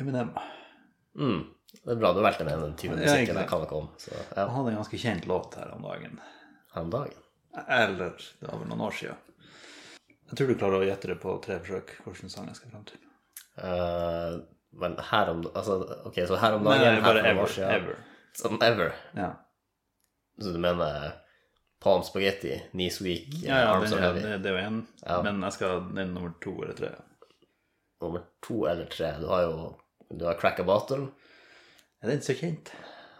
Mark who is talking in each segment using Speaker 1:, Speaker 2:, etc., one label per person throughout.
Speaker 1: Eminem.
Speaker 2: Mm. Det er bra du valgte med den type
Speaker 1: Ja,
Speaker 2: musikk.
Speaker 1: egentlig.
Speaker 2: jeg kan ikke om. Så, ja.
Speaker 1: Han hadde en ganske kjent låt her om dagen.
Speaker 2: En dag.
Speaker 1: Eller det var vel noen år siden. Jeg tror du klarer å gjette det på tre forsøk hvilken sang jeg skal fram til.
Speaker 2: Eh, men her om altså, Ok, så her om
Speaker 1: Nei,
Speaker 2: dagen
Speaker 1: nei,
Speaker 2: her
Speaker 1: bare
Speaker 2: for noen år
Speaker 1: ever.
Speaker 2: siden.
Speaker 1: ever.
Speaker 2: Sånn ever.
Speaker 1: Ja.
Speaker 2: Så du mener eh, Palm Spaghetti, Knees Weak,
Speaker 1: Ja, ja,
Speaker 2: Arms
Speaker 1: den,
Speaker 2: Are
Speaker 1: ja
Speaker 2: Heavy?
Speaker 1: det, det er jo én,
Speaker 2: Ja.
Speaker 1: men jeg skal den nummer to eller tre.
Speaker 2: Nummer to eller tre. Du har jo du har Crack a Bottle.
Speaker 1: Er den så kjent?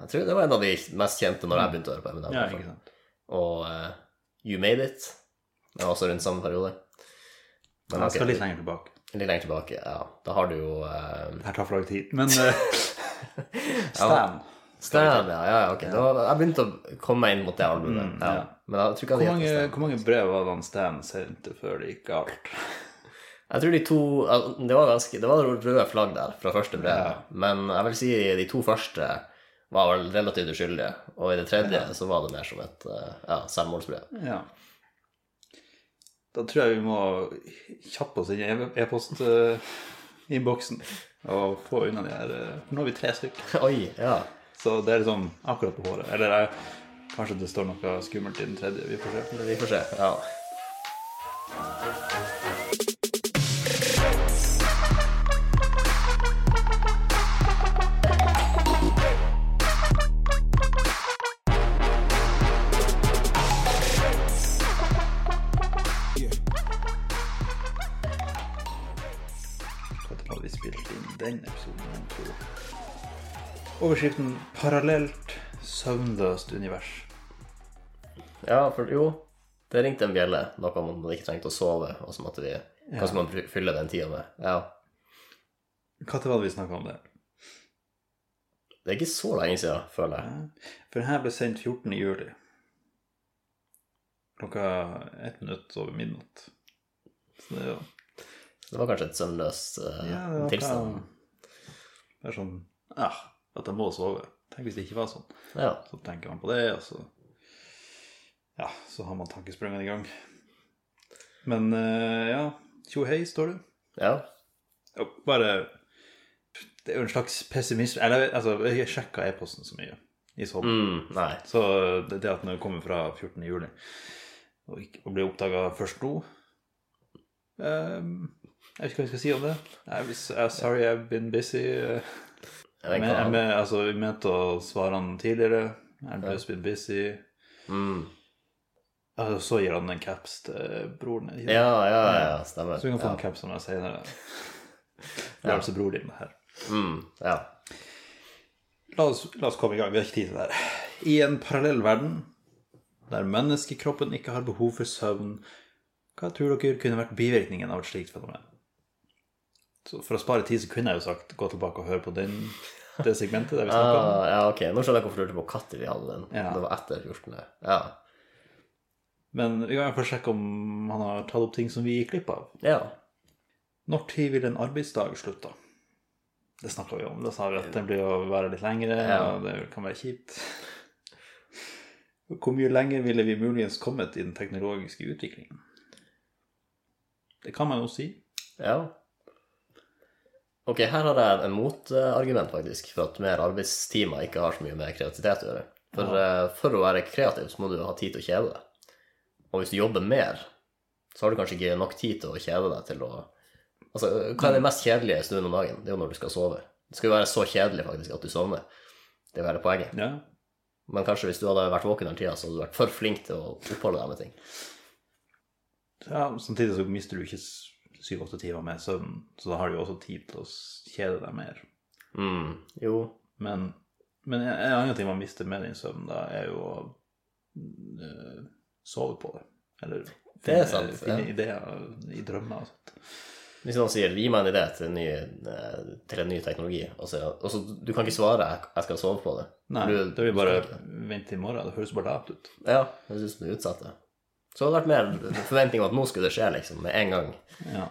Speaker 2: Jeg tror det var en av de mest kjente når jeg begynte å høre på Eminem. i
Speaker 1: Mm. Ja,
Speaker 2: hvert fall.
Speaker 1: ikke sant.
Speaker 2: Og eh, You Made It. Det var også rundt samme periode. Men
Speaker 1: Jeg skal
Speaker 2: ok,
Speaker 1: litt lenger tilbake.
Speaker 2: litt lenger tilbake. Ja, da har du jo eh,
Speaker 1: Det her tar for lang tid. Men eh, Stan.
Speaker 2: Stan, ja, ja, ja, ok. Da, jeg begynte å komme meg inn mot det albumet.
Speaker 1: Mm,
Speaker 2: ja.
Speaker 1: ja.
Speaker 2: Men jeg tror ikke
Speaker 1: Hvor
Speaker 2: jeg hadde
Speaker 1: mange,
Speaker 2: gjettet Stan.
Speaker 1: hvor mange brev var det han Stan sendte før det gikk galt?
Speaker 2: Jeg tror de to al- Det var ganske, det var røde flagg der fra første brev,
Speaker 1: Ja.
Speaker 2: men jeg vil si de to første var vel relativt uskyldige, og i det tredje så var det mer som et eh, ja, selvmordsbrev.
Speaker 1: Ja. Da tror jeg vi må kjappe oss inn i e- e-post-innboksen eh, og få unna de her eh, for Nå er vi tre stykker,
Speaker 2: Oi, ja.
Speaker 1: så det er liksom akkurat på håret. Eller jeg, kanskje det står noe skummelt i den tredje. Vi får se.
Speaker 2: Vi får se. Ja.
Speaker 1: Når har vi spilt inn den episoden? jeg tror. Overskriften 'Parallelt søvnløst univers'.
Speaker 2: ja, for jo, det ringte en bjelle, noe om man ikke trengte å sove, og så måtte vi Hva skal man fy- fylle den tida med? Ja.
Speaker 1: Når var det vi snakka om det?
Speaker 2: Det er ikke så lenge siden, føler jeg.
Speaker 1: For den her ble sendt 14. juli. Klokka ett minutt over midnatt. Så det er jo
Speaker 2: Det var kanskje et søvnløst eh,
Speaker 1: ja, det var
Speaker 2: tilstand.
Speaker 1: bra. Det er sånn ja, at jeg må sove. Tenk hvis det ikke var sånn.
Speaker 2: Ja.
Speaker 1: Så tenker man på det, og så Ja, så har man tankesprangene i gang. Men eh, ja, tjo hei, står det.
Speaker 2: ja.
Speaker 1: Og Bare Det er jo en slags pessimisme Eller altså, jeg sjekka e-posten så mye i sånn.
Speaker 2: Mm, nei.
Speaker 1: Så det, det at den kommer fra 14. juli og, ikke, og blir oppdaga først nå ehm, Jeg vet ikke hva jeg skal si om det. Jeg, blir s- jeg, sorry, I've been busy. eh,
Speaker 2: Jeg vet
Speaker 1: Men,
Speaker 2: ikke hva
Speaker 1: jeg,
Speaker 2: han-
Speaker 1: men, altså, vi mente å svare han tidligere. I've just been busy. E.
Speaker 2: mm.
Speaker 1: Og så gir han en caps til broren din.
Speaker 2: ja, ja, ja, ja, stemmer.
Speaker 1: Så du kan få
Speaker 2: ja.
Speaker 1: en caps av meg senere. Det er altså broren din, det her.
Speaker 2: Mm, ja.
Speaker 1: La oss, la oss komme i gang. Vi har ikke tid til det her. I en parallell verden der menneskekroppen ikke har behov for søvn, hva tror dere kunne vært bivirkningen av et slikt fenomen? Så for å spare tid så kunne jeg jo sagt gå tilbake og høre på den, det segmentet der vi snakka om.
Speaker 2: Ah, ja, ok. Nå skjønner jeg hvorfor du lurte på når vi hadde den.
Speaker 1: Ja.
Speaker 2: Det var etter 14. Ja.
Speaker 1: Men vi kan iallfall sjekke om han har tatt opp ting som vi gikk glipp av.
Speaker 2: ja.
Speaker 1: Når tid vil en arbeidsdag slutte? Det snakka vi om. Da sa vi at den blir å være litt lengre,
Speaker 2: Ja.
Speaker 1: og det kan være kjipt. Hvor mye lenger ville vi muligens kommet i den teknologiske utviklingen? Det kan man jo si.
Speaker 2: ja. Ok, her har jeg en motargument, faktisk, for at mer arbeidstimer ikke har så mye med kreativitet å gjøre. For, eh, for å være kreativ så må du ha tid til å kjede deg. Og hvis du jobber mer, så har du kanskje ikke nok tid til å kjede deg til å Altså, hva er det mest kjedelige stunden om dagen? Det er jo når du skal sove. Det skal jo være så kjedelig, faktisk, at du sovner. Det er jo hele poenget.
Speaker 1: Ja.
Speaker 2: Men kanskje hvis du hadde vært våken hele tida, så hadde du vært for flink til å oppholde deg med ting.
Speaker 1: ja samtidig så mister du ikke s- syv-åtte timer med søvn, så da har du jo også tid til å s- kjede deg mer.
Speaker 2: Mm, jo.
Speaker 1: Men, men en en annen ting man mister med den søvnen, da, er jo å øh, sove på det. Eller finne,
Speaker 2: Det er sant,
Speaker 1: finne
Speaker 2: ja.
Speaker 1: ideer i drømmer og sånt.
Speaker 2: Hvis noen sier 'gi meg en idé til en ny, eh, til en ny teknologi', og så, og så du kan ikke svare 'jeg jeg skal sove på det'.
Speaker 1: Nei,
Speaker 2: du,
Speaker 1: da vil vi bare
Speaker 2: du skal ikke.
Speaker 1: vente til i morgen. Det høres bare lavt ut.
Speaker 2: Ja, det høres ut som du utsetter. Så det hadde vært mer forventning om at nå skulle det skje, liksom, med en gang.
Speaker 1: Ja.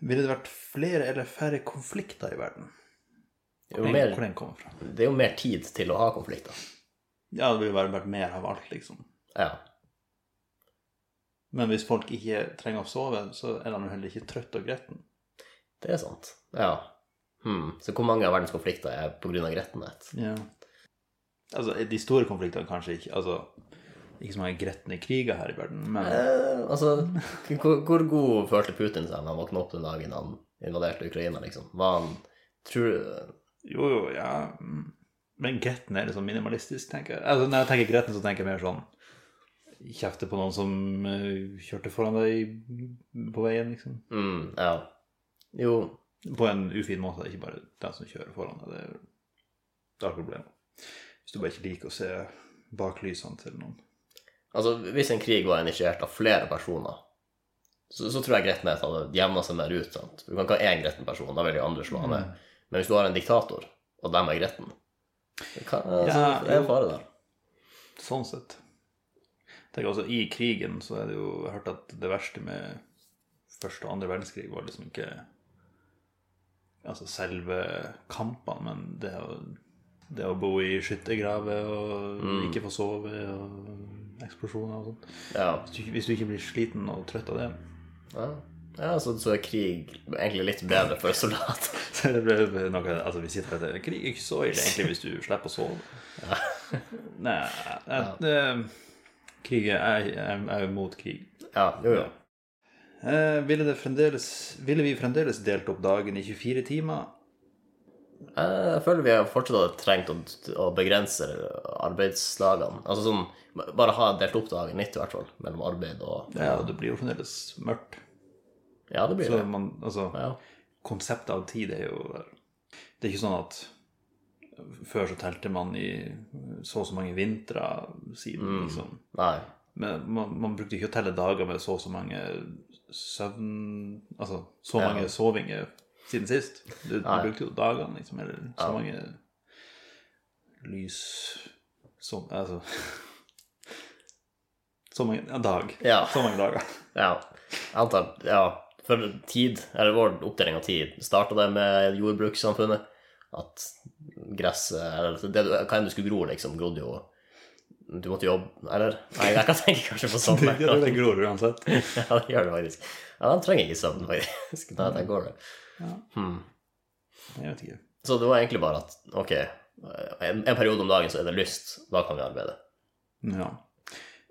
Speaker 1: Ville det vært flere eller færre konflikter i verden?
Speaker 2: Jo
Speaker 1: Hvor den,
Speaker 2: mer-
Speaker 1: hvor den kommer fra?
Speaker 2: Det er jo mer tid til å ha konflikter.
Speaker 1: Ja, det ville bare vært mer av alt, liksom.
Speaker 2: Ja.
Speaker 1: Men hvis folk ikke trenger å sove, så er de heller ikke trøtte og gretten.
Speaker 2: Det er sant. Ja. Hmm. Så hvor mange av verdens konflikter er pga. grettenhet?
Speaker 1: Ja. Altså, de store konfliktene kanskje ikke Altså, ikke så mange gretne kriger her i verden, men
Speaker 2: Eh, altså, k- hvor, hvor god følte Putin seg når han våkna opp den dagen han invaderte Ukraina, liksom? Var han tror,
Speaker 1: Jo, jo, ja mm. Men gretten er litt sånn minimalistisk, tenker jeg. Altså, når jeg tenker gretten, så tenker jeg mer sånn Kjefte på noen som eh, kjørte foran deg på veien, liksom.
Speaker 2: mm, Ja. Jo,
Speaker 1: På en ufin måte, ikke bare den som kjører foran deg. Det er det er ikke problemet. Hvis du bare ikke liker å se baklysene til noen.
Speaker 2: altså hvis en krig var initiert av flere personer, så, så tror jeg grettenhet hadde jevna seg mer ut. sant? Du kan ikke ha én gretten person, da vil de andre slå han ned.
Speaker 1: Mm.
Speaker 2: Men hvis du har en diktator, og dem er gretten, hva, altså,
Speaker 1: Ja,
Speaker 2: det er
Speaker 1: jo.
Speaker 2: en fare der.
Speaker 1: Sånn sett. Tenk også, I krigen så er det jo jeg har hørt at det verste med første og andre verdenskrig var liksom ikke altså selve kampene, men det å, det å bo i skyttergraver og ikke få sove og eksplosjoner og sånt.
Speaker 2: Ja.
Speaker 1: Hvis du, ikke- hvis du ikke blir sliten og trøtt av det,
Speaker 2: Ja, ja så, så er krig egentlig litt bedre for soldater.
Speaker 1: så det ble noe Altså, vi sitter her til krig er ikke så ille egentlig hvis du slipper å sove. Nei, jeg- det- krig er Jeg jeg- jeg er mot krig.
Speaker 2: Ja, jo, jo.
Speaker 1: Eh, ville, det fremdeles, ville vi fremdeles delt opp dagen i 24 timer?
Speaker 2: Jeg føler vi har fortsatt hadde trengt å, å begrense arbeidsdagene. Altså sånn, Bare ha delt opp dagen litt, i hvert fall, mellom arbeid og
Speaker 1: Ja, det blir jo fremdeles mørkt.
Speaker 2: Ja, det blir
Speaker 1: Så
Speaker 2: det.
Speaker 1: man, altså,
Speaker 2: Ja.
Speaker 1: konseptet av tid er jo Det er ikke sånn at før så telte man i så og så mange vintre siden, liksom.
Speaker 2: Nei.
Speaker 1: Men man, man brukte ikke å telle dager med så og så mange søvn... Altså så
Speaker 2: Ja.
Speaker 1: mange sovinger siden sist. Du, du
Speaker 2: Nei.
Speaker 1: brukte jo dagene, liksom, eller så mange lys som, Altså Så mange ja, dag.
Speaker 2: Ja.
Speaker 1: Så mange dager.
Speaker 2: Ja. Jeg antar Ja. For tid, eller vår oppdeling av tid, starta det med jordbrukssamfunnet. At gresset Eller det, du- hva enn du skulle gro, liksom, grodde jo Du måtte jobbe, eller? Nei, jeg kan tenke kanskje på sånn.
Speaker 1: Det, det, det gror uansett.
Speaker 2: Ja, det gjør det faktisk. Ja, han trenger ikke søvn, faktisk. Nei, der går det.
Speaker 1: Ja.
Speaker 2: Hmm.
Speaker 1: Jeg vet ikke.
Speaker 2: Så det var egentlig bare at ok, en, en periode om dagen så er det lyst, da kan vi arbeide.
Speaker 1: Ja.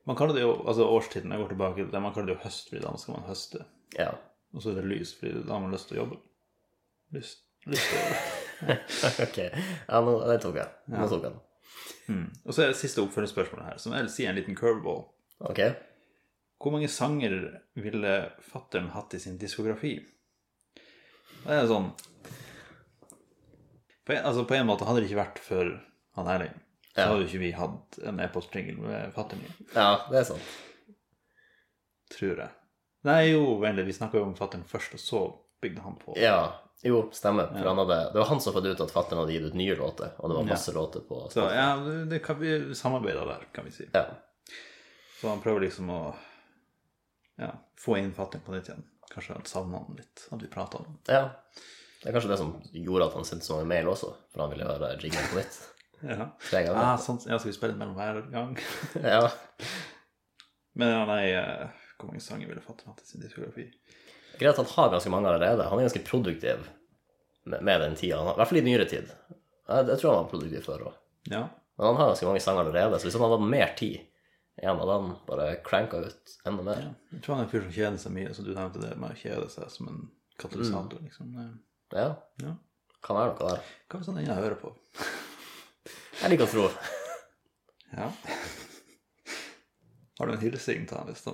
Speaker 1: Man kaller det jo altså årstiden. Jeg går tilbake til det. Man kaller det jo høst, fordi da skal man høste.
Speaker 2: Ja.
Speaker 1: Og så er det lys, fordi da har man lyst til å jobbe. Lyst, lyst til å jobbe.
Speaker 2: ok. Ja, nå, den tok jeg. Nå tok jeg den.
Speaker 1: Mm. Og så er det siste oppfølgingsspørsmålet her, som jeg vil si er en liten curveball.
Speaker 2: Ok.
Speaker 1: Hvor mange sanger ville fattern hatt i sin diskografi? Det er sånn på en, altså på en måte hadde det ikke vært for han Erling, så
Speaker 2: Ja.
Speaker 1: hadde jo ikke vi hatt en e-postpringel med fattern i,
Speaker 2: Ja, det er sant.
Speaker 1: tror jeg. Nei, jo, vennlig, vi snakka jo om fattern først, og så bygde han på.
Speaker 2: Ja. Jo, stemmer. For han hadde, det var han som fant ut at fatter'n hadde gitt ut nye låter, og det var masse låter på
Speaker 1: Så ja, det kan vi samarbeide der, kan vi si.
Speaker 2: Ja.
Speaker 1: Så han prøver liksom å ja, få inn fattern på nytt igjen. Kanskje han savna han litt, at vi prata om han.
Speaker 2: ja. Det er kanskje det som gjorde at han sendte så mange mail også, for han ville høre jinglen på nytt.
Speaker 1: Ja.
Speaker 2: Tre ganger.
Speaker 1: Ah, sånn, ja, skal vi spille den mellom hver gang?
Speaker 2: Ja.
Speaker 1: Men ja, nei, eh, hvor mange sanger ville Fatter'n hatt i sin diskografi?
Speaker 2: Greit at han har ganske mange allerede. Han er ganske produktiv med, med den tida. han har- I hvert fall i nyere tid. Jeg, jeg tror han var produktiv før òg.
Speaker 1: Ja.
Speaker 2: Men han har ganske mange sanger allerede, så hvis han hadde hatt mer tid igjen, hadde han bare cranka ut enda mer.
Speaker 1: ja. Jeg tror han er en fyr som kjeder seg mye, så du nevnte det med å kjede seg som en katalysator, liksom. Eh,
Speaker 2: Ja.
Speaker 1: Ja.
Speaker 2: Kan være noe der.
Speaker 1: Hva hvis han ennå hører på?
Speaker 2: Jeg liker å tro.
Speaker 1: Ja. Har du en hilsing til han hvis han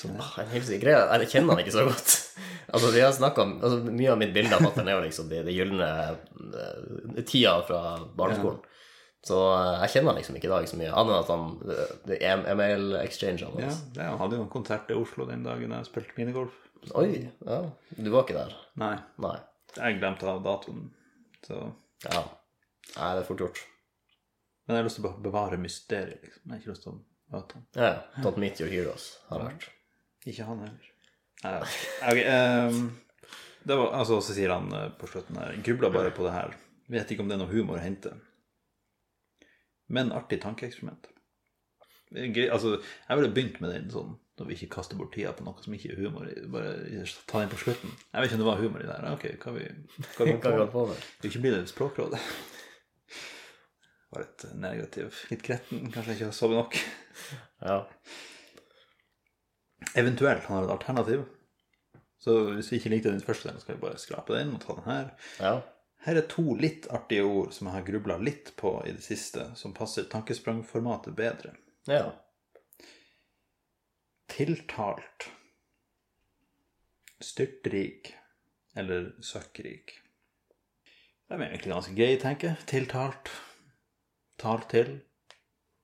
Speaker 1: sånn, ja.
Speaker 2: Ah, en hilsen- Greia, er- jeg kjenner han ikke så godt. Altså, vi har snakket om, altså, Mye av mitt bilde av fatter'n er jo liksom de, de gylne eh, tida fra barneskolen. Så eh, jeg kjenner han liksom ikke i dag så mye, annet enn at han eh, det er email-exchangene
Speaker 1: ja, det, Han hadde jo en konsert i Oslo den dagen jeg spilte minigolf.
Speaker 2: Oi, ja. Du var ikke der?
Speaker 1: Nei,
Speaker 2: Nei.
Speaker 1: jeg glemte av datoen. Så.
Speaker 2: Ja. Nei, det er fort gjort.
Speaker 1: Men jeg har lyst til å be- bevare mysteriet, liksom. Jeg har ikke lyst til å møte han.
Speaker 2: Ja, ja. Don't meet your heroes, har jeg hørt.
Speaker 1: Ikke han heller. Nei, ok, ehm, det var, altså, så sier han eh, på slutten her Grubla bare på det her. Vet ikke om det er noe humor å hente. Men artig tankeeksperiment. Det er gøy, Altså, jeg ville begynt med den sånn. når vi ikke kaster bort tida på noe som ikke er humor. i- Bare ta den på slutten. Jeg vet ikke om det var humor i det her. Ok, hva vi, hva vi
Speaker 2: Hva kan
Speaker 1: holder
Speaker 2: jeg
Speaker 1: på med?
Speaker 2: på med?
Speaker 1: Det er jo ikke blitt et språkråd. Var litt negativ. Litt gretten. Kanskje jeg ikke har sovet nok.
Speaker 2: Ja.
Speaker 1: Eventuelt han har et alternativ. Så hvis vi ikke likte den første delen, så kan vi bare skrape den og ta den her.
Speaker 2: ja.
Speaker 1: Her er to litt artige ord som jeg har grubla litt på i det siste, som passer tankesprangformatet bedre.
Speaker 2: Ja.
Speaker 1: Tiltalt. Styrtrik. Eller søkkrik. De er egentlig ganske greie, tenker jeg. Tiltalt. Talt til.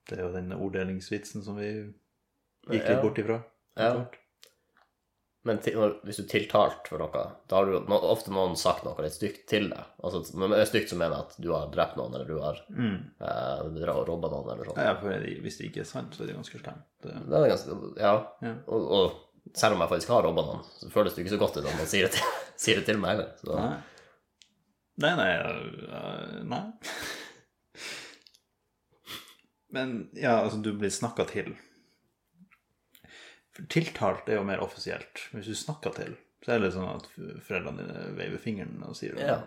Speaker 1: Det er jo den orddelingsvitsen som vi gikk litt
Speaker 2: Ja.
Speaker 1: bort ifra.
Speaker 2: Ja.
Speaker 1: Tiltalt.
Speaker 2: Men til, når, hvis du er tiltalt for noe, da har du no, ofte noen sagt noe litt stygt til deg. Altså, når det er stygt, så mener jeg at du har drept noen, eller du har
Speaker 1: Mm.
Speaker 2: eh, robba noen, eller sånt.
Speaker 1: Ja, for hvis det ikke er sant, så er det ganske slemt. Det...
Speaker 2: Det er ganske, ja.
Speaker 1: Ja.
Speaker 2: Og, og selv om jeg faktisk har robba noen, så føles det ikke så godt ut om man sier det til, sier det til meg heller. Så,
Speaker 1: Nei. Nei, nei øh, Nei. Men ja, altså, du blir snakka til. For tiltalt er jo mer offisielt. Hvis du snakker til, så er det litt sånn at foreldrene dine veiver fingeren og sier
Speaker 2: ja.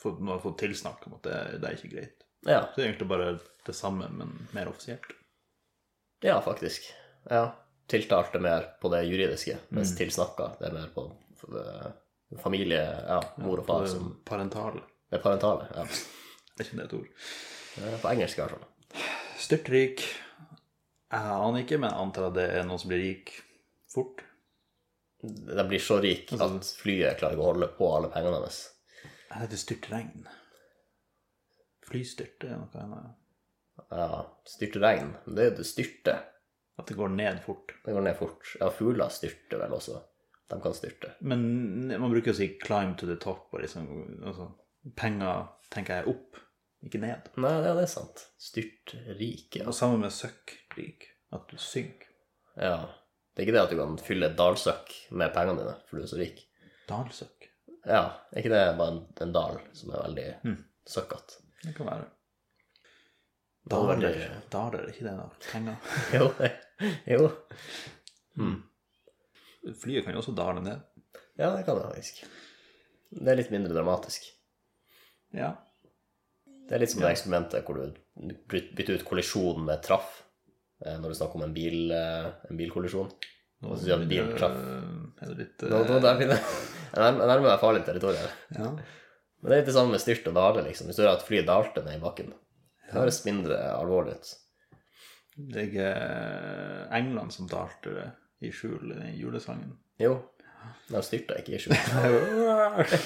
Speaker 1: for, Nå har jeg fått tilsnakk om at det, det er ikke greit.
Speaker 2: Ja.
Speaker 1: Så det er egentlig bare det samme, men mer offisielt.
Speaker 2: ja, faktisk. Ja. Tiltalt er mer på det juridiske, mens
Speaker 1: Mm.
Speaker 2: tilsnakka det er mer på eh, familie, ja, mor og far,
Speaker 1: Det er
Speaker 2: som
Speaker 1: Parentale.
Speaker 2: det parentale. Ja.
Speaker 1: Det er ikke det et ord.
Speaker 2: Det er På engelsk, i hvert fall.
Speaker 1: Styrtrik. Jeg aner ikke, men jeg antar at det er noen som blir rik fort.
Speaker 2: De blir så rik at flyet klarer ikke å holde på alle pengene deres.
Speaker 1: Nei, det heter styrtregn. Flystyrt det er noe annet.
Speaker 2: Ja, Styrtregn. Det er jo det styrte.
Speaker 1: At det går ned fort.
Speaker 2: Det går ned fort. Ja, fugler styrter vel også. De kan styrte.
Speaker 1: Men man bruker å si 'climb to the top' og liksom altså, Penger tenker jeg er opp, ikke ned.
Speaker 2: Nei, ja, det er sant. Styrtrik, ja.
Speaker 1: Og sammen med søkkrik, at du synker.
Speaker 2: ja. Det er ikke det at du kan fylle et dalsøkk med pengene dine, for du er så rik.
Speaker 1: Dalsøkk.
Speaker 2: Ja, er ikke det bare en, en dal som er veldig
Speaker 1: Mm.
Speaker 2: søkkete?
Speaker 1: Det kan være.
Speaker 2: Da var
Speaker 1: Daler,
Speaker 2: det-
Speaker 1: daler er ikke det noe? Penger.
Speaker 2: Jo, jo. Mm.
Speaker 1: Flyet kan jo også dale ned.
Speaker 2: Ja, det kan det faktisk. Det er litt mindre dramatisk.
Speaker 1: Ja.
Speaker 2: Det er litt som det eksperimentet hvor du byt- bytter ut kollisjon med traff, eh, når du snakker om en, bil, eh, en bilkollisjon.
Speaker 1: Nå
Speaker 2: Og så sier han biltraff.
Speaker 1: øh, Er det litt
Speaker 2: Nå, nå,
Speaker 1: øh,
Speaker 2: der finner jeg jeg nærmer jeg nærmer meg farlig territorium.
Speaker 1: Ja.
Speaker 2: Men det er litt det samme med styrt og dale, liksom. Hvis du hører at flyet dalte ned i bakken, det høres mindre alvorlig ut.
Speaker 1: Det er ikke England som dalte det i skjul i den julesangen.
Speaker 2: Jo, de styrta ikke i skjul.
Speaker 1: Det er jo-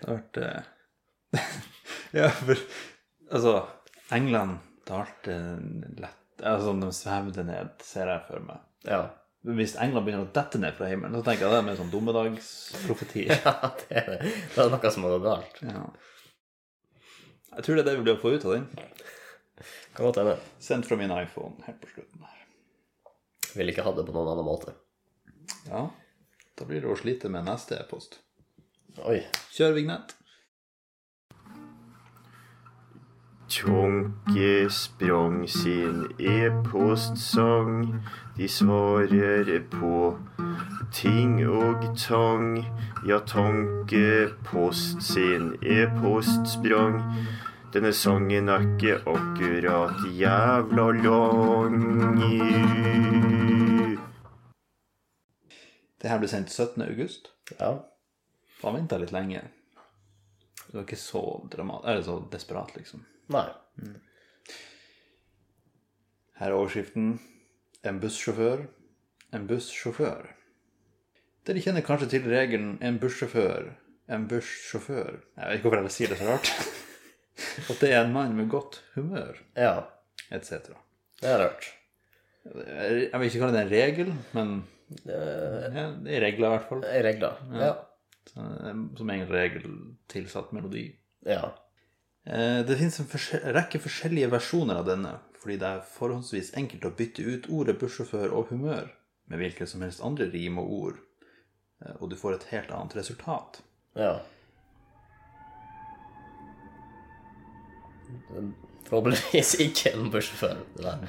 Speaker 1: Det har vært eh, Ja, for altså England dalte lett Altså, de svevde ned, ser jeg for meg.
Speaker 2: Ja.
Speaker 1: Men Hvis England begynner å dette ned fra himmelen, så tenker jeg det er mer sånn dommedagsprofeti.
Speaker 2: ja, det er det. Det er noe som har gått galt.
Speaker 1: Ja. Jeg tror det er det vi blir å få ut av den.
Speaker 2: Kan godt hende.
Speaker 1: Sendt fra min iPhone helt på slutten her.
Speaker 2: Ville ikke hatt det på noen annen måte.
Speaker 1: Ja, da blir det å slite med neste e-post.
Speaker 2: Oi.
Speaker 1: Kjør vignett.
Speaker 3: Tjonke sprang sin e-postsang. De svarer på ting og tang. Ja, Tankepost sin e-post sprang. Denne sangen er ikke akkurat jævla lang.
Speaker 1: Det her ble sendt 17. august.
Speaker 2: Ja.
Speaker 1: Han venta litt lenge. Det var ikke så dramat... Eller så desperat, liksom.
Speaker 2: Nei.
Speaker 1: Her er overskriften 'En bussjåfør. En bussjåfør'. Dere kjenner kanskje til regelen 'en bussjåfør, en bussjåfør'. Jeg vet ikke hvorfor jeg sier det så rart. At det er en mann med godt humør,
Speaker 2: Ja.
Speaker 1: etc.
Speaker 2: Det har jeg hørt.
Speaker 1: Jeg jeg vil ikke kalle det en regel, men
Speaker 2: Det
Speaker 1: ja, det er regler i hvert fall.
Speaker 2: er regler. Ja.
Speaker 1: Så- Eh, Som egen regel tilsatt melodi.
Speaker 2: Ja.
Speaker 1: Eh, Det finnes en forskje- rekke forskjellige versjoner av denne, fordi det er forhåndsvis enkelt å bytte ut ordet bussjåfør og humør med hvilke som helst andre rim og ord, eh, og du får et helt annet resultat.
Speaker 2: Ja. Forhåpentligvis ikke en bussjåfør. det der.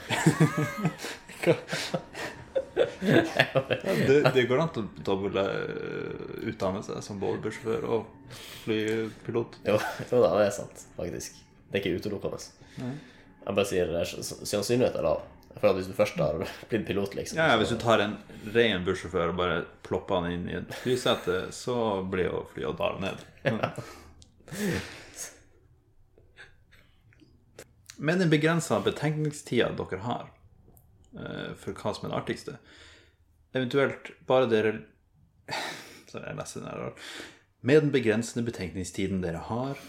Speaker 1: Det, det går an til å doble eh, utdannelse som både bussjåfør og flypilot.
Speaker 2: Jo, jo da, det er sant, faktisk. Det er ikke utelukkende. Jeg bare sier eh, s- s- sannsynligheten er lav. For at hvis du først har blitt pilot, liksom
Speaker 1: Ja, ja, Hvis du tar en ren bussjåfør og bare plopper han inn i et flysete, så blir jo flyet og daler ned. Med den begrensa betenkningstida dere har eh, for hva som er det artigste, eventuelt bare dere Sorry, jeg leser den her rart. Med den begrensende betenkningstiden dere har,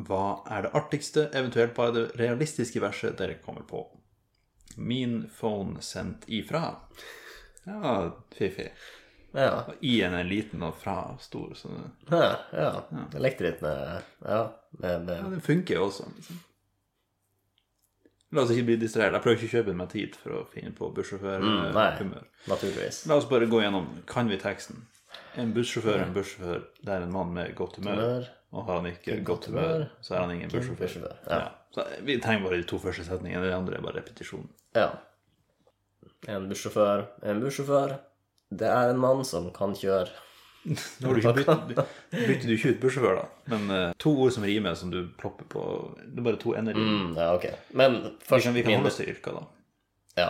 Speaker 1: hva er det artigste, eventuelt bare det realistiske verset dere kommer på? Min phone sendt ifra. Ja, fiffig.
Speaker 2: Ja.
Speaker 1: I-en er liten og fra stor, så det-
Speaker 2: Ja, ja. Jeg likte litt med Ja. Med,
Speaker 1: ja,
Speaker 2: med.
Speaker 1: det funker jo også. Liksom. La oss ikke bli distrahert. Jeg prøver ikke å kjøpe meg tid for å finne på
Speaker 2: Mm, nei.
Speaker 1: bussjåførhumør.
Speaker 2: Naturligvis.
Speaker 1: La oss bare gå gjennom. Kan vi teksten? En bussjåfør er en bussjåfør. Det er en mann med godt humør.
Speaker 2: Humør.
Speaker 1: Og har han ikke godt humør, så er han ingen bussjåfør.
Speaker 2: bussjåfør, ja.
Speaker 1: Så vi trenger bare de to første setningene. Det andre er bare repetisjon.
Speaker 2: Ja. En bussjåfør En bussjåfør. Det er en mann som kan kjøre.
Speaker 1: Nå har du ikke bytt, bytter du ikke ut bussjåfør, da. Men eh, to ord som rimer, som du plopper på Det er bare to ender. i.
Speaker 2: Mm, ja, ok. Men
Speaker 1: Vi
Speaker 2: først
Speaker 1: kan, vi kan
Speaker 2: min-
Speaker 1: holde oss til yrker, da.
Speaker 2: Ja.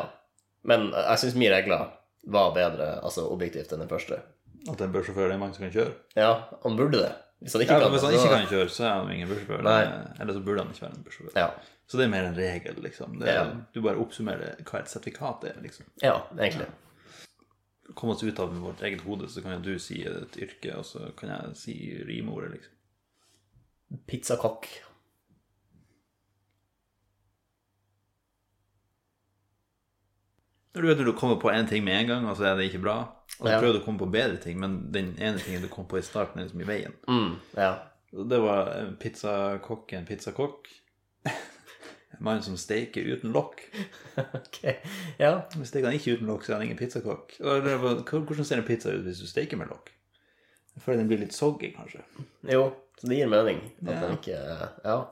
Speaker 2: Men jeg syns mine regler var bedre altså objektivt enn den første.
Speaker 1: At en bussjåfør det er en mann som kan kjøre.
Speaker 2: Ja, han burde det. Hvis han ikke
Speaker 1: Ja,
Speaker 2: kan
Speaker 1: men Hvis han
Speaker 2: så-
Speaker 1: ikke kan kjøre, så er han ingen bussjåfør.
Speaker 2: Nei.
Speaker 1: Eller så burde han ikke være en bussjåfør.
Speaker 2: Ja.
Speaker 1: Så det er mer en regel, liksom. Det er,
Speaker 2: Ja.
Speaker 1: Du bare oppsummerer hva et sertifikat er, liksom.
Speaker 2: ja, egentlig.
Speaker 1: Kom oss ut av vårt eget hode, så kan jo du si et yrke, og så kan jeg si rimeordet, liksom.
Speaker 2: Pizzakokk.
Speaker 1: Når du vet når du kommer på én ting med en gang, og så er det ikke bra, og så
Speaker 2: Ja.
Speaker 1: prøver du å komme på bedre ting, men den ene tingen du kom på i starten, er liksom i veien.
Speaker 2: Mm, ja.
Speaker 1: Det var en pizzakokk, en pizzakokk. En mann som steker uten lokk.
Speaker 2: ok. Ja.
Speaker 1: Hvis steker han ikke uten lokk, så er han ingen pizzakokk. Og det var- Hvordan ser en pizza ut hvis du steker med lokk? Jeg føler den blir litt soggy, kanskje.
Speaker 2: Jo, så det gir mening at
Speaker 1: Ja.
Speaker 2: den ikke Ja.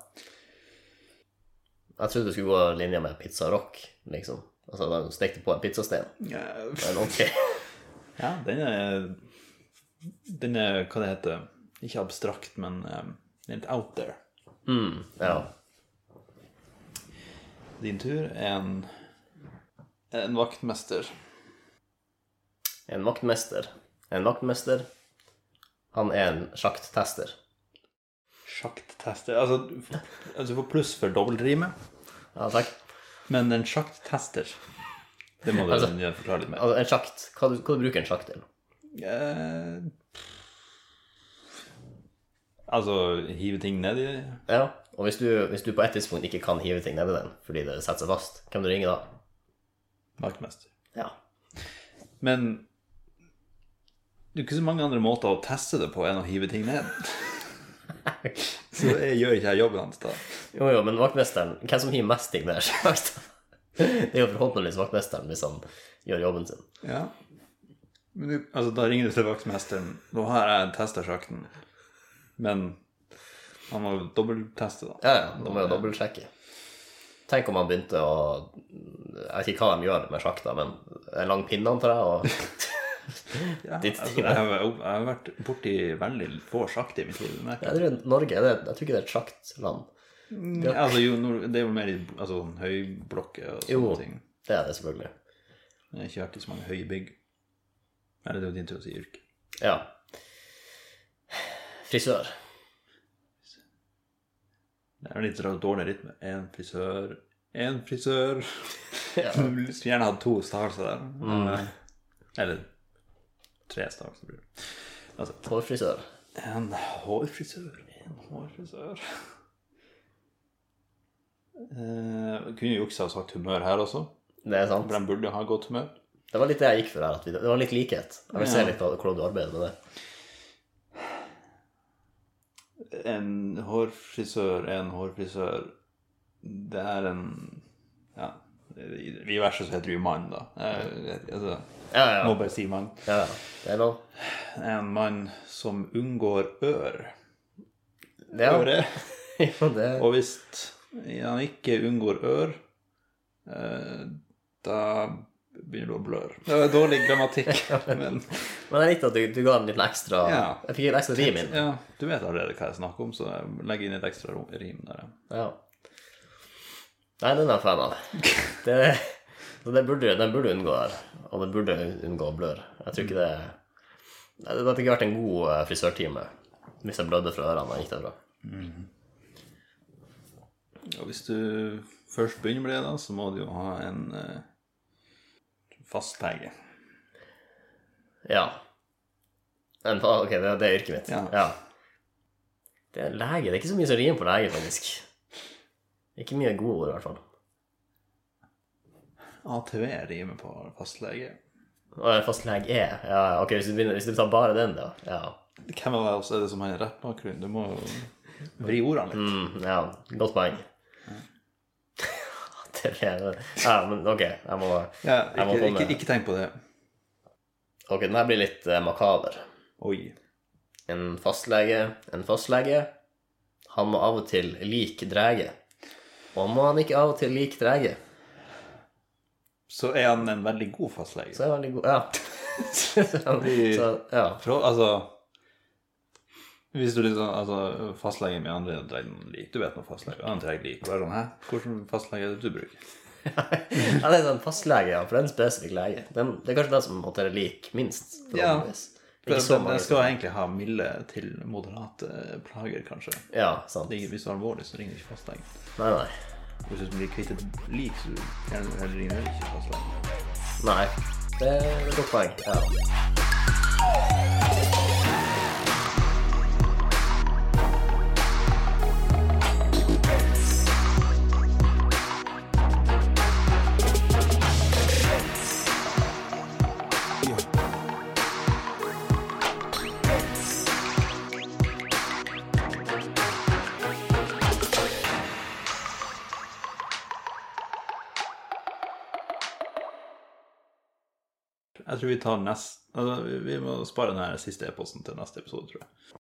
Speaker 2: Jeg trodde du skulle gå linja med pizza rock, liksom. Altså de stekte på en pizzastein.
Speaker 1: Ja,
Speaker 2: Men ok.
Speaker 1: ja den er Den er hva det heter Ikke abstrakt, men um, litt out there.
Speaker 2: Mm, ja.
Speaker 1: Din tur er en, en vaktmester.
Speaker 2: En vaktmester. En vaktmester. Han er en sjakttester.
Speaker 1: Sjakttester Altså, du får- altså, du får pluss for dobbeltrimet.
Speaker 2: Ja, takk.
Speaker 1: Men en sjakttester Det må du
Speaker 2: Altså-
Speaker 1: forklare litt mer.
Speaker 2: Altså, en sjakt. Hva, du- hva du bruker en sjakt til?
Speaker 1: Eh, altså hive ting ned i
Speaker 2: Ja. Og hvis du, hvis du på et tidspunkt ikke kan hive ting nedi den fordi det setter seg fast, hvem du ringer da?
Speaker 1: vaktmester.
Speaker 2: Ja.
Speaker 1: Men det er ikke så mange andre måter å teste det på enn å hive ting ned. Så det gjør ikke jeg jobben hans, da.
Speaker 2: Jo, jo, men vaktmesteren Hvem som hiver mest ting der? det er jo forhåpentligvis vaktmesteren hvis han gjør jobben sin.
Speaker 1: Ja. Men du, altså, da ringer du til vaktmesteren. Nå har jeg testa sjakten, men han må dobbeltteste, da.
Speaker 2: Ja, ja, da må jeg dobbeltsjekke. Tenk om han begynte å Jeg vet ikke hva de gjør med sjakk, da, men en lang pinne, antar jeg, og
Speaker 1: Ja,
Speaker 2: ditt
Speaker 1: altså,
Speaker 2: ting.
Speaker 1: jeg, har, jeg har vært borti veldig få sjakt i mitt liv. Men jeg
Speaker 2: Jeg tror Norge er det, Jeg tror ikke det er et sjaktland.
Speaker 1: Ja, altså, jo, nord- det er jo mer i altså, sånn høyblokker og
Speaker 2: Jo,
Speaker 1: sånne ting.
Speaker 2: det er det selvfølgelig.
Speaker 1: Jeg har ikke vært i så mange høybygg. Eller det er jo din tur å si yrke.
Speaker 2: Ja. Frisør.
Speaker 1: Det er jo litt ra- dårlig rytme. En frisør, en frisør.
Speaker 2: Ja. Mm.
Speaker 1: Du vil Skulle gjerne hatt to stavelser der. eh, Eller tre stavelser. blir det. Altså,
Speaker 2: Hårfrisør.
Speaker 1: en hårfrisør, en hårfrisør. Eh, kunne jo juksa og sagt humør her også,
Speaker 2: Det er sant.
Speaker 1: for de burde ha godt humør.
Speaker 2: Det var litt det jeg gikk for her. At vi, det var litt likhet. Jeg vil
Speaker 1: Ja.
Speaker 2: se litt av hvordan du arbeider med det.
Speaker 1: en hårfrisør er en hårfrisør Det er en Ja, i i verset så heter det jo mann, da. Eh, Altså,
Speaker 2: Ja, ja.
Speaker 1: må bare si mann.
Speaker 2: Ja, ja. Det er lov.
Speaker 1: En mann som unngår ør.
Speaker 2: Ja.
Speaker 1: Øre.
Speaker 2: Ja, det,
Speaker 1: Og hvis han ikke unngår ør, eh, da begynner du å bløre. Det var dårlig grammatikk, men
Speaker 2: Men jeg likte at du, du ga en liten ekstra
Speaker 1: Ja.
Speaker 2: Jeg fikk en ekstra rim inn.
Speaker 1: ja, du vet allerede hva jeg snakker om, så jeg legger inn et ekstra rom- rim der. ja.
Speaker 2: Ja. Nei, den er jeg fan av. Det, så det burde, den burde unngå her. Og den burde unngå blør. Jeg tror ikke det Nei, Det hadde ikke vært en god eh, frisørtime hvis jeg blødde fra ørene og gikk derfra.
Speaker 1: Og hvis du først begynner med det, da, så må du jo ha en eh, fast lege.
Speaker 2: Ja. En, fa- ok, det, det er yrket mitt.
Speaker 1: Ja.
Speaker 2: Det er lege. Det er ikke så mye som rimer på lege, faktisk. Ikke mye gode ord, i hvert fall.
Speaker 1: ATV rimer på fastlege.
Speaker 2: Og Fastlege er E. ja, Ok, hvis du, begynner, hvis du tar bare den, da. Ja.
Speaker 1: Hvem av oss er det som har en rett bakgrunn? Du må jo vri ordene litt.
Speaker 2: Mm, ja, godt poeng. det ble det. Ja, men ok, jeg må
Speaker 1: Ja,
Speaker 2: Jeg må
Speaker 1: ikke,
Speaker 2: få med.
Speaker 1: ikke, ikke tenk på det.
Speaker 2: Ok, den her blir litt eh, makaber.
Speaker 1: Oi.
Speaker 2: En fastlege, en fastlege, han må av og til like drege. Og må han ikke av og til like drege,
Speaker 1: Så er han en veldig god fastlege.
Speaker 2: så er han veldig god Ja. så, så, ja.
Speaker 1: Fra, altså Hvis du liksom altså, Fastlegen min, han dreier noen lik. Du vet noen fastlege. Han dreier lik. Og det er sånn, hæ? Hvilken fastlege er det du bruker?
Speaker 2: ja, det er sånn fastlege, ja, for det er en spesifikk lege. Den, det er kanskje den som måtte være lik minst.
Speaker 1: Ja.
Speaker 2: forhåpentligvis.
Speaker 1: For
Speaker 2: Ikke
Speaker 1: den,
Speaker 2: så
Speaker 1: den
Speaker 2: mange.
Speaker 1: skal egentlig ha milde til moderate eh, plager, kanskje.
Speaker 2: Ja, sant.
Speaker 1: Det er- Hvis du er alvorlig, så ringer du ikke fastlegen.
Speaker 2: Nei, nei.
Speaker 1: Hvis du blir kvitt et lik, så gjerne- eller ringer du ikke fastlegen.
Speaker 2: Nei. Det er et godt poeng. Ja.
Speaker 1: Jeg tror vi tar nest... Altså, vi- vi må spare den her siste e-posten til neste episode, tror jeg.